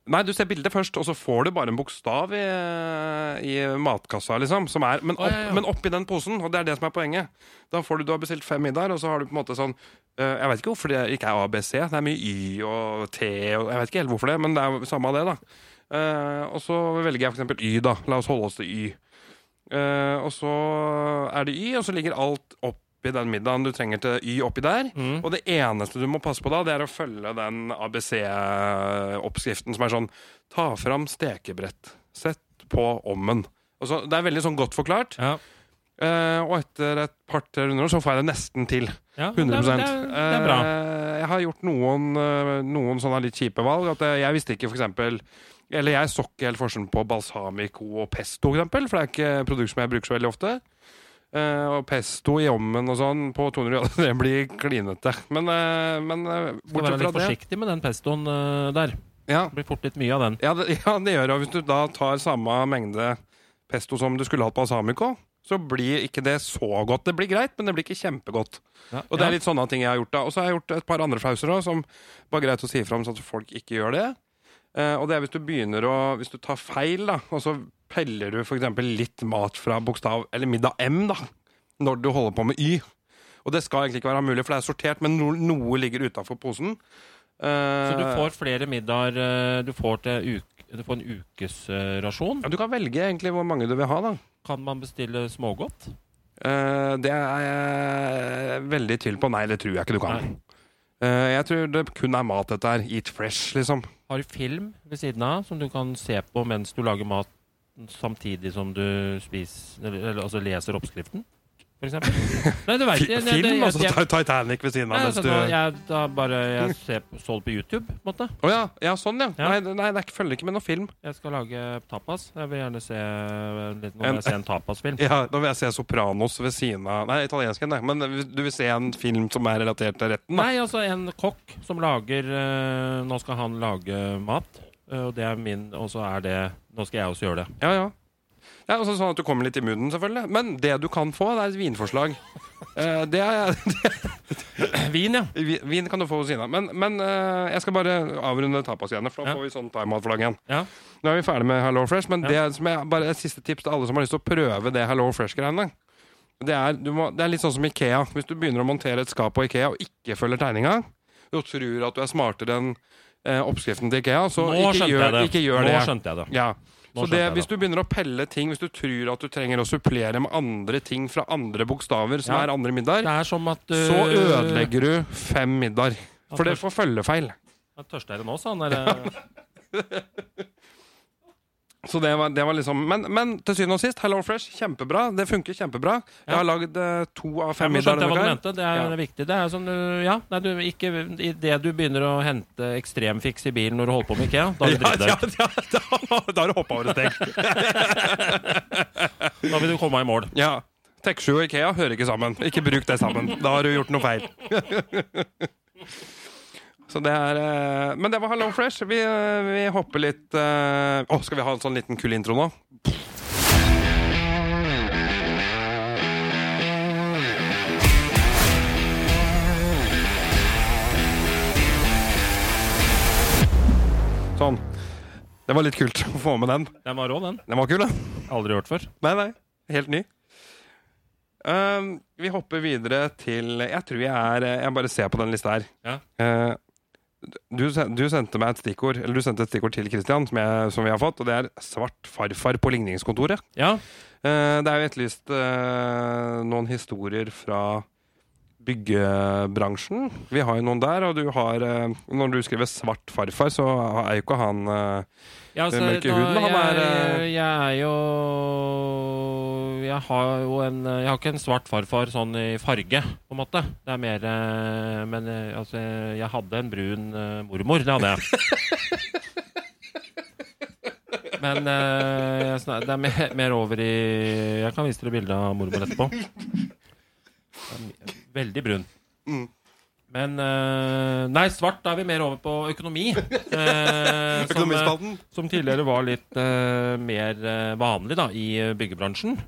Speaker 1: Nei, du ser bildet først, og så får du bare en bokstav i, i matkassa, liksom. Som er, men,
Speaker 2: Å, ja,
Speaker 1: opp,
Speaker 2: ja.
Speaker 1: men oppi den posen, og det er det som er poenget. Da får du, du har bestilt fem middager, og så har du på en måte sånn eh, Jeg vet ikke hvorfor det ikke er ABC. Det er mye Y og T og Jeg vet ikke helt hvorfor det, men det er jo samme av det, da. Eh, og så velger jeg for eksempel Y, da. La oss holde oss til Y. Eh, og så er det Y, og så ligger alt oppi den middagen du trenger til Y oppi der. Og det eneste du må passe på da, det er å følge den ABC-oppskriften som er sånn Ta fram stekebrett. Sett på ommen. Og så, det er veldig sånn godt forklart.
Speaker 2: Ja.
Speaker 1: Eh, og etter et par-tre runder så får jeg det nesten til.
Speaker 2: Ja,
Speaker 1: 100
Speaker 2: Det, er- det, er- det er bra.
Speaker 1: Eh, Jeg har gjort noen, eh, noen sånne litt kjipe valg. At eh, jeg visste ikke for eksempel Eller jeg så ikke helt forskjellen på balsamico og pesto, for eksempel. For det er ikke produkter som jeg bruker så veldig ofte. Eh, og pesto i ommen og sånn på 200 grader, <laughs> det blir klinete. Men, eh, men eh,
Speaker 2: Skal være
Speaker 1: bortsett fra
Speaker 2: litt
Speaker 1: det
Speaker 2: forsiktig med den pestoen eh, der.
Speaker 1: ja,
Speaker 2: Det blir fort litt mye av den.
Speaker 1: ja, det, <laughs> ja, det gjør det. Og Hvis du da tar samme mengde pesto som du skulle hatt balsamico, så blir ikke det så godt. Det blir greit, men det blir ikke kjempegodt.
Speaker 2: Ja.
Speaker 1: Og det er litt sånne ting jeg har gjort da. Og så har jeg gjort et par andre flauser også, som var greit å si fra om, sånn at folk ikke gjør det. Eh, og det er hvis du begynner å Hvis du tar feil, da, og så peller du f.eks. litt mat fra bokstav Eller middag M, da, når du holder på med Y. Og det skal egentlig ikke være mulig, for det er sortert, men no, noe ligger utafor posen.
Speaker 2: Ja. Så du
Speaker 1: eh,
Speaker 2: får flere middager eh, Du får, til uke, du får en ukesrasjon.
Speaker 1: ja, du kan velge egentlig hvor mange du vil ha, da.
Speaker 2: Kan man bestille smågodt?
Speaker 1: Eh, det er jeg veldig tvil på. Nei, det tror jeg ikke du kan.
Speaker 2: Nei.
Speaker 1: Eh, jeg tror det kun er mat, dette her. Eat fresh, liksom.
Speaker 2: Har du film ved siden av som du kan se på mens du lager mat samtidig som du spiser eller, eller altså leser oppskriften?
Speaker 1: <laughs>
Speaker 2: For eksempel? Nei, du
Speaker 1: Fi
Speaker 2: vet, jeg- jeg- jeg-
Speaker 1: film, altså.
Speaker 2: jeg-
Speaker 1: Ti- Titanic ved siden av.
Speaker 2: Nei,
Speaker 1: mens
Speaker 2: altså,
Speaker 1: du...
Speaker 2: nå- jeg, da bare, jeg ser på, så det på YouTube, på en måte.
Speaker 1: Å ja, ja, sånn, ja.
Speaker 2: Ja.
Speaker 1: Nei, det- nei, det er ikke, følger ikke med noe film.
Speaker 2: Jeg skal lage tapas. Jeg vil gjerne se, eh, litt, nå
Speaker 1: En-
Speaker 2: vil jeg se en tapasfilm.
Speaker 1: Ja, Nå vil jeg se Sopranos ved siden av Nei, italiensken, nei. Men du vil se en film som er relatert til retten? da?
Speaker 2: Nei, altså en kokk som lager eh, Nå skal han lage mat, eh, og det er min, og så er det Nå skal jeg også gjøre det.
Speaker 1: Ja, ja. Ja, altså Sånn at du kommer litt i mooden, selvfølgelig. Men det du kan få, det er et vinforslag. Eh, det er,
Speaker 2: Vin, ja.
Speaker 1: vi- <clears throat> vin kan du få ved siden av. Men, men eh, jeg skal bare avrunde tapas-greiene, for da
Speaker 2: Ja.
Speaker 1: får vi sånn time-out-flagg igjen.
Speaker 2: ja.
Speaker 1: Nå er vi ferdig med Hello Fresh, men
Speaker 2: Ja.
Speaker 1: det som jeg, bare et siste tips til alle som har lyst til å prøve det Hello Fresh-greiene. Det er, du må, det er litt sånn som Ikea. Hvis du begynner å montere et skap på Ikea og ikke følger tegninga, og tror at du er smartere enn eh, oppskriften til Ikea, så
Speaker 2: Nå
Speaker 1: ikke
Speaker 2: skjønte
Speaker 1: gjør,
Speaker 2: jeg det.
Speaker 1: ikke gjør
Speaker 2: Nå
Speaker 1: det.
Speaker 2: skjønte jeg det.
Speaker 1: Ja. Så det, hvis du begynner å pelle ting, hvis du tror at du trenger å supplere med andre ting fra andre bokstaver, som
Speaker 2: Ja.
Speaker 1: er andre middager,
Speaker 2: Det er som at uh,
Speaker 1: så ødelegger du fem middager. For det får følgefeil.
Speaker 2: Han tørster det nå,
Speaker 1: <laughs>
Speaker 2: sa han. Eller?
Speaker 1: Så det var, det var liksom Men, men til syvende og sist, Hello Fresh, kjempebra. Det funker kjempebra. Jeg
Speaker 2: Ja.
Speaker 1: har lagd eh, to av fem
Speaker 2: Ja, men
Speaker 1: middager
Speaker 2: skjønte jeg
Speaker 1: denne
Speaker 2: hva du
Speaker 1: gangen.
Speaker 2: mente. Det er
Speaker 1: Ja.
Speaker 2: viktig. Det er som du, ja, nei, du, ikke, I det du begynner å hente ekstremfiks i bilen når du holder på med IKEA, da vil du
Speaker 1: Ja,
Speaker 2: drite
Speaker 1: ja,
Speaker 2: deg ut.
Speaker 1: ja, da, da har du hoppa over et steg.
Speaker 2: <laughs> Da vil du komme i mål.
Speaker 1: Ja. Tek7 og Ikea hører ikke sammen. Ikke bruk det sammen. Da har du gjort noe feil. Så det er eh, Men det var Hello Fresh. Vi, eh, vi hopper litt eh, Å, skal vi ha en sånn liten kul intro nå? Sånn. Det var litt kult å få med den.
Speaker 2: Den var rå, den.
Speaker 1: Den var kul, da.
Speaker 2: Aldri hørt før.
Speaker 1: Nei, nei. Helt ny. Ehm, vi hopper videre til Jeg tror jeg er Jeg bare ser på den lista her.
Speaker 2: Ja.
Speaker 1: Eh, du, sen- du sendte meg et stikkord Eller du sendte et stikkord til Christian, som, jeg, som vi har fått, og det er 'svart farfar på ligningskontoret'.
Speaker 2: Ja.
Speaker 1: Eh, det er jo etterlyst eh, noen historier fra byggebransjen. Vi har jo noen der, og du har eh, Når du skriver 'svart farfar', så er jo ikke han eh,
Speaker 2: Ja,
Speaker 1: Den mørke huden, han
Speaker 2: jeg,
Speaker 1: er, eh,
Speaker 2: jeg er jo jeg har jo en Jeg har ikke en svart farfar sånn i farge, på en måte. Det er mer eh, Men eh, altså, jeg hadde en brun eh, mormor. Det hadde jeg. Men eh, jeg snak- det er mer, mer over i Jeg kan vise dere bilde av mormor etterpå. Veldig brun. Men eh, Nei, svart, da er vi mer over på økonomi. Eh, som, eh, som tidligere var litt eh, mer eh, vanlig da, i eh, byggebransjen.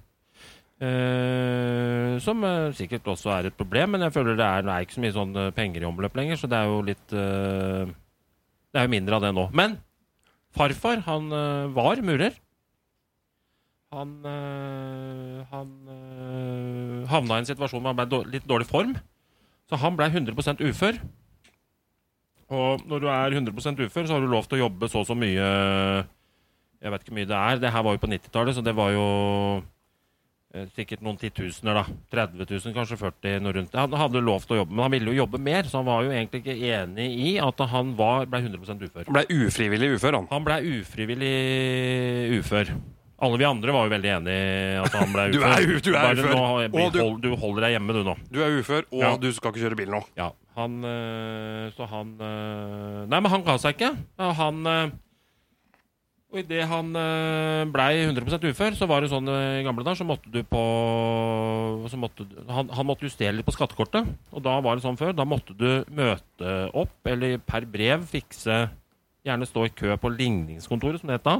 Speaker 2: Eh, som eh, sikkert også er et problem, men jeg føler det er, det er ikke så mye sånn eh, penger i omløp lenger, så det er jo litt eh, Det er jo mindre av det nå. Men farfar, han eh, var murer. Han eh, Han eh, havna i en situasjon hvor han ble i dår- litt dårlig form, så han ble 100 ufør. Og når du er 100 ufør, så har du lov til å jobbe så og så mye eh, Jeg vet ikke hvor mye det er. Det her var jo på 90-tallet, så det var jo eh, sikkert noen titusener, da. 30 000, kanskje 40 noe rundt. Han hadde lov til å jobbe, men han ville jo jobbe mer, så han var jo egentlig ikke enig i at han var, ble 100 ufør.
Speaker 1: eh, ble ufrivillig ufør, han.
Speaker 2: Han ble ufrivillig ufør. Alle vi andre var jo veldig enig i at han ble
Speaker 1: <laughs> Du
Speaker 2: ufør.
Speaker 1: er u- du er
Speaker 2: Bare
Speaker 1: ufør.
Speaker 2: Nå,
Speaker 1: Og du-
Speaker 2: hold, du holder deg hjemme, du, nå.
Speaker 1: Du er ufør, og
Speaker 2: Ja.
Speaker 1: du skal ikke kjøre bil nå.
Speaker 2: Ja, han øh, Så han øh, Nei, men han ga seg ikke. Ja, Han øh, Og idet han øh, blei 100 ufør, så var det sånn øh, i gamle dager, så måtte du på så måtte, du- han, han måtte justere litt på skattekortet. Og da var det sånn før. Da måtte du møte opp, eller per brev fikse Gjerne stå i kø på ligningskontoret, som det het da.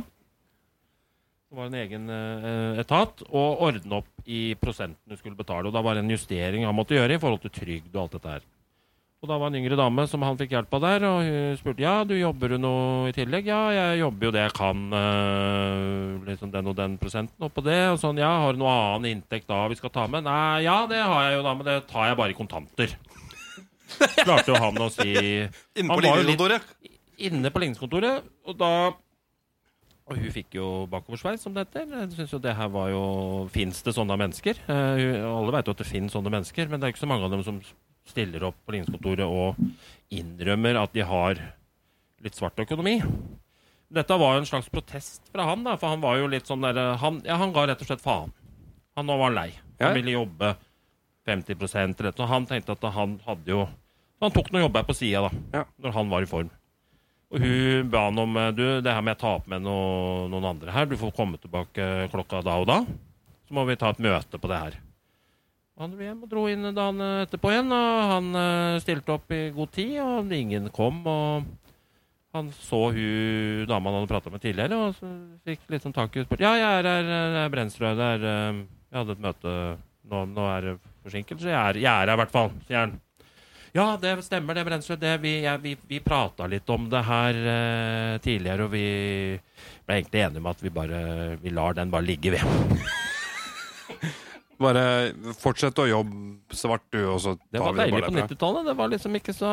Speaker 2: Det var en egen eh, etat. Og ordne opp i prosenten du skulle betale. Og da var det en justering han måtte gjøre i forhold til trygd og alt dette her. Og da var en yngre dame som han fikk hjelp av der, og hun spurte ja, du jobber du noe i tillegg. Ja, jeg jobber jo det jeg kan, eh, liksom den og den prosenten oppå det. Og sånn, ja, har du noe annen inntekt da vi skal ta med? Nei, ja, det har jeg jo da, men det tar jeg bare i kontanter. Klarte jo han å si
Speaker 1: Inne
Speaker 2: Han
Speaker 1: på
Speaker 2: var jo
Speaker 1: ligningskontoret.
Speaker 2: inne på ligningskontoret, og da Og hun fikk jo bakoversveis, som det heter. Jeg synes jo det her var jo Fins det sånne mennesker? Eh, hun- alle veit jo at det finnes sånne mennesker, men det er ikke så mange av dem som stiller opp på ligningskontoret og innrømmer at de har litt svart økonomi. Dette var jo en slags protest fra han, da, for han var jo litt sånn derre han, ja, han ga rett og slett faen. Han nå var han lei. Han
Speaker 1: Ja.
Speaker 2: ville jobbe 50 eller noe. Han tenkte at han hadde jo Han tok noe jobb her på sida, da,
Speaker 1: Ja.
Speaker 2: når han var i form. Og hun ba han om eh, Du, det her må jeg ta opp med noe, noen andre her. Du får komme tilbake eh, klokka da og da. Så må vi ta et møte på det her. Han dro hjem og dro inn dagen eh, etterpå igjen, og han eh, stilte opp i god tid, og ingen kom. Og han så hun dama han hadde prata med tidligere, og så fikk litt sånn tak i henne og spurte Ja, jeg er her, eh, det er Brensrød. Det er, eh, jeg hadde et møte nå, nå er det forsinkelse. Jeg er, jeg er her i hvert fall, sier han. Ja, det stemmer det, Brensrud. Det, vi jeg, vi, vi prata litt om det her eh, tidligere, og vi ble egentlig enige om at vi bare vi lar den bare ligge, ved.
Speaker 1: Bare fortsett å jobbe svart, du, og så
Speaker 2: Det
Speaker 1: tar
Speaker 2: var
Speaker 1: vi det
Speaker 2: deilig
Speaker 1: bare
Speaker 2: på
Speaker 1: derfra.
Speaker 2: 90-tallet. Det var liksom ikke så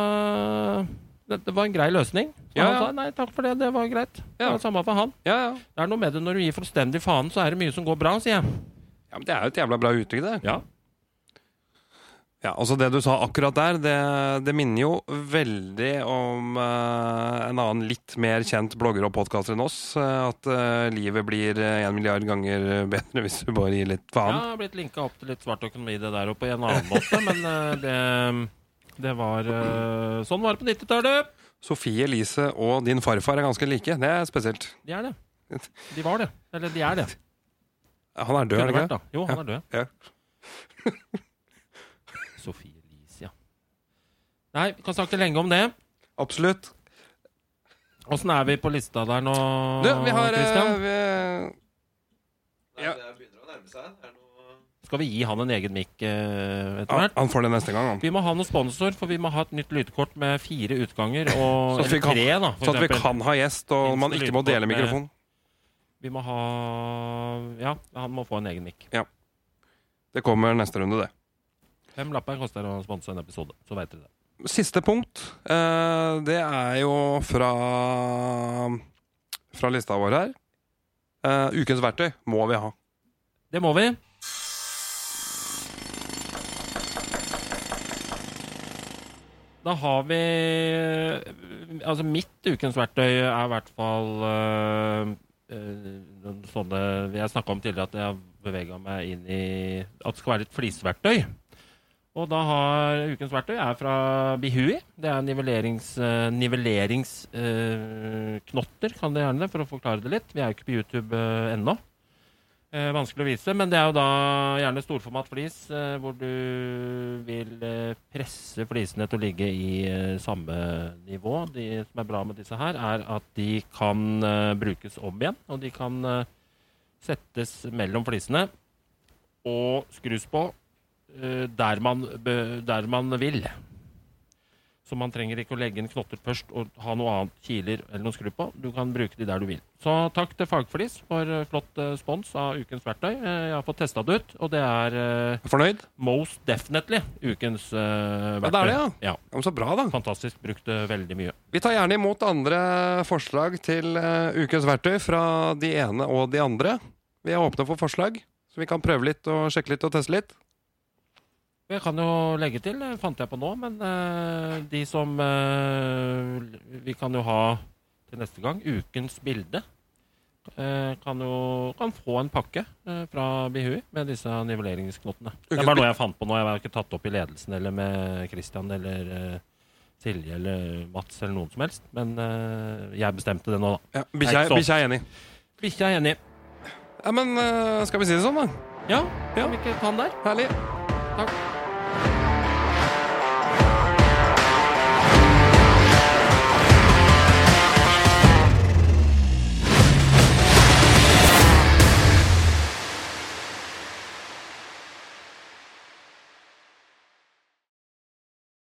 Speaker 2: det, det var en grei løsning. Så
Speaker 1: Ja,
Speaker 2: han
Speaker 1: ja.
Speaker 2: sa nei, takk for det, det var greit. Det
Speaker 1: Ja.
Speaker 2: var samme for han.
Speaker 1: Ja, ja.
Speaker 2: Det er noe med det når du gir fullstendig faen, så er det mye som går bra, sier jeg.
Speaker 1: ja, men Det er jo et jævla bra uttrykk, det.
Speaker 2: Ja.
Speaker 1: Ja, altså Det du sa akkurat der, det, det minner jo veldig om eh, en annen litt mer kjent blogger og podkaster enn oss. eh, at eh, livet blir én milliard ganger eh, bedre hvis du bare gir litt
Speaker 2: Jeg
Speaker 1: faen.
Speaker 2: har blitt linka opp til litt svart økonomi det der oppe i en annen måte, men eh, det, det var eh, Sånn var det på 90-tallet.
Speaker 1: Sofie Elise og din farfar er ganske like. Det er spesielt.
Speaker 2: De er det. De var det. Eller de er det.
Speaker 1: Han er død, er han
Speaker 2: Kunne vært,
Speaker 1: ikke?
Speaker 2: da. Jo, han er død.
Speaker 1: Ja.
Speaker 2: <laughs> Sofie Elise, ja. Nei, vi kan snakke lenge om det.
Speaker 1: Absolutt.
Speaker 2: Åssen er vi på lista der nå,
Speaker 1: Du, vi har eh,
Speaker 2: Christian?
Speaker 1: vi,
Speaker 3: Nei,
Speaker 1: Ja.
Speaker 3: Det begynner å nærme seg. Er det noe...
Speaker 2: Skal vi gi han en egen mic eh, etter
Speaker 1: han,
Speaker 2: hvert?
Speaker 1: han får det neste gang, han.
Speaker 2: Vi må ha noen sponsor, for vi må ha et nytt lydkort med fire utganger.
Speaker 1: <laughs>
Speaker 2: Og,
Speaker 1: Så at vi
Speaker 2: eller
Speaker 1: kan-
Speaker 2: tre, da, for
Speaker 1: Sånn at vi
Speaker 2: eksempel.
Speaker 1: kan ha gjest, og man ikke må dele mikrofon.
Speaker 2: Vi må ha Ja, han må få en egen mic.
Speaker 1: Det kommer neste runde, det.
Speaker 2: Fem lapper koster å sponse en episode, så veit dere det.
Speaker 1: Siste punkt, eh, det er jo fra Fra lista vår her. Eh, ukens verktøy må vi ha.
Speaker 2: Det må vi. Da har vi Altså, mitt ukens verktøy er i hvert fall øh, øh, noen sånne Jeg snakka om tidligere at jeg bevega meg inn i At det skal være litt flisverktøy. Og da har ukens verktøy er fra Bihui. Det er nivellerings, øh, nivelleringsknotter, kan det gjerne, for å forklare det litt. Vi er jo ikke på YouTube øh, ennå. Eh, vanskelig å vise, men det er jo da gjerne storformat flis, eh, hvor du vil eh, presse flisene til å ligge i eh, samme nivå. De som er bra med disse her, er at de kan eh, brukes om igjen, og de kan eh, settes mellom flisene og skrus på eh, der, man, bø- der man vil. Så man trenger ikke å legge inn knotter først og ha noe annet kiler eller noe skru på. Du kan bruke de der du vil. Så takk til Fagflis for eh, flott eh, spons av ukens verktøy. Eh, Jeg har fått testa det ut, og det er eh,
Speaker 1: Fornøyd?
Speaker 2: most definitely ukens eh,
Speaker 1: Ja, det
Speaker 2: verktøy.
Speaker 1: er det, ja.
Speaker 2: ja.
Speaker 1: Ja, men så bra, da.
Speaker 2: Fantastisk. Brukt det veldig mye.
Speaker 1: Vi tar gjerne imot andre forslag til eh, ukens verktøy fra de ene og de andre. Vi er åpne for forslag, så vi kan prøve litt og sjekke litt og teste litt.
Speaker 2: Jeg kan jo legge til, eh, fant jeg på nå, men eh, de som eh, l- Vi kan jo ha til neste gang ukens bilde. eh, kan jo kan få en pakke eh, fra Bihui med disse nivelleringsknottene. Det
Speaker 1: Ukens
Speaker 2: var noe jeg fant på nå. Jeg har ikke tatt opp i ledelsen eller med Christian eller eh, Silje eller Mats eller noen som helst. Men eh, jeg bestemte det nå,
Speaker 1: Ja,
Speaker 2: da.
Speaker 1: Bikkja
Speaker 2: Nei, så-
Speaker 1: bikkja er enig.
Speaker 2: Bikkja er enig.
Speaker 1: Ja, men eh, skal vi si det sånn, da?
Speaker 2: Ja, ja. Kan vi ikke ta den der?
Speaker 1: Herlig.
Speaker 2: Takk.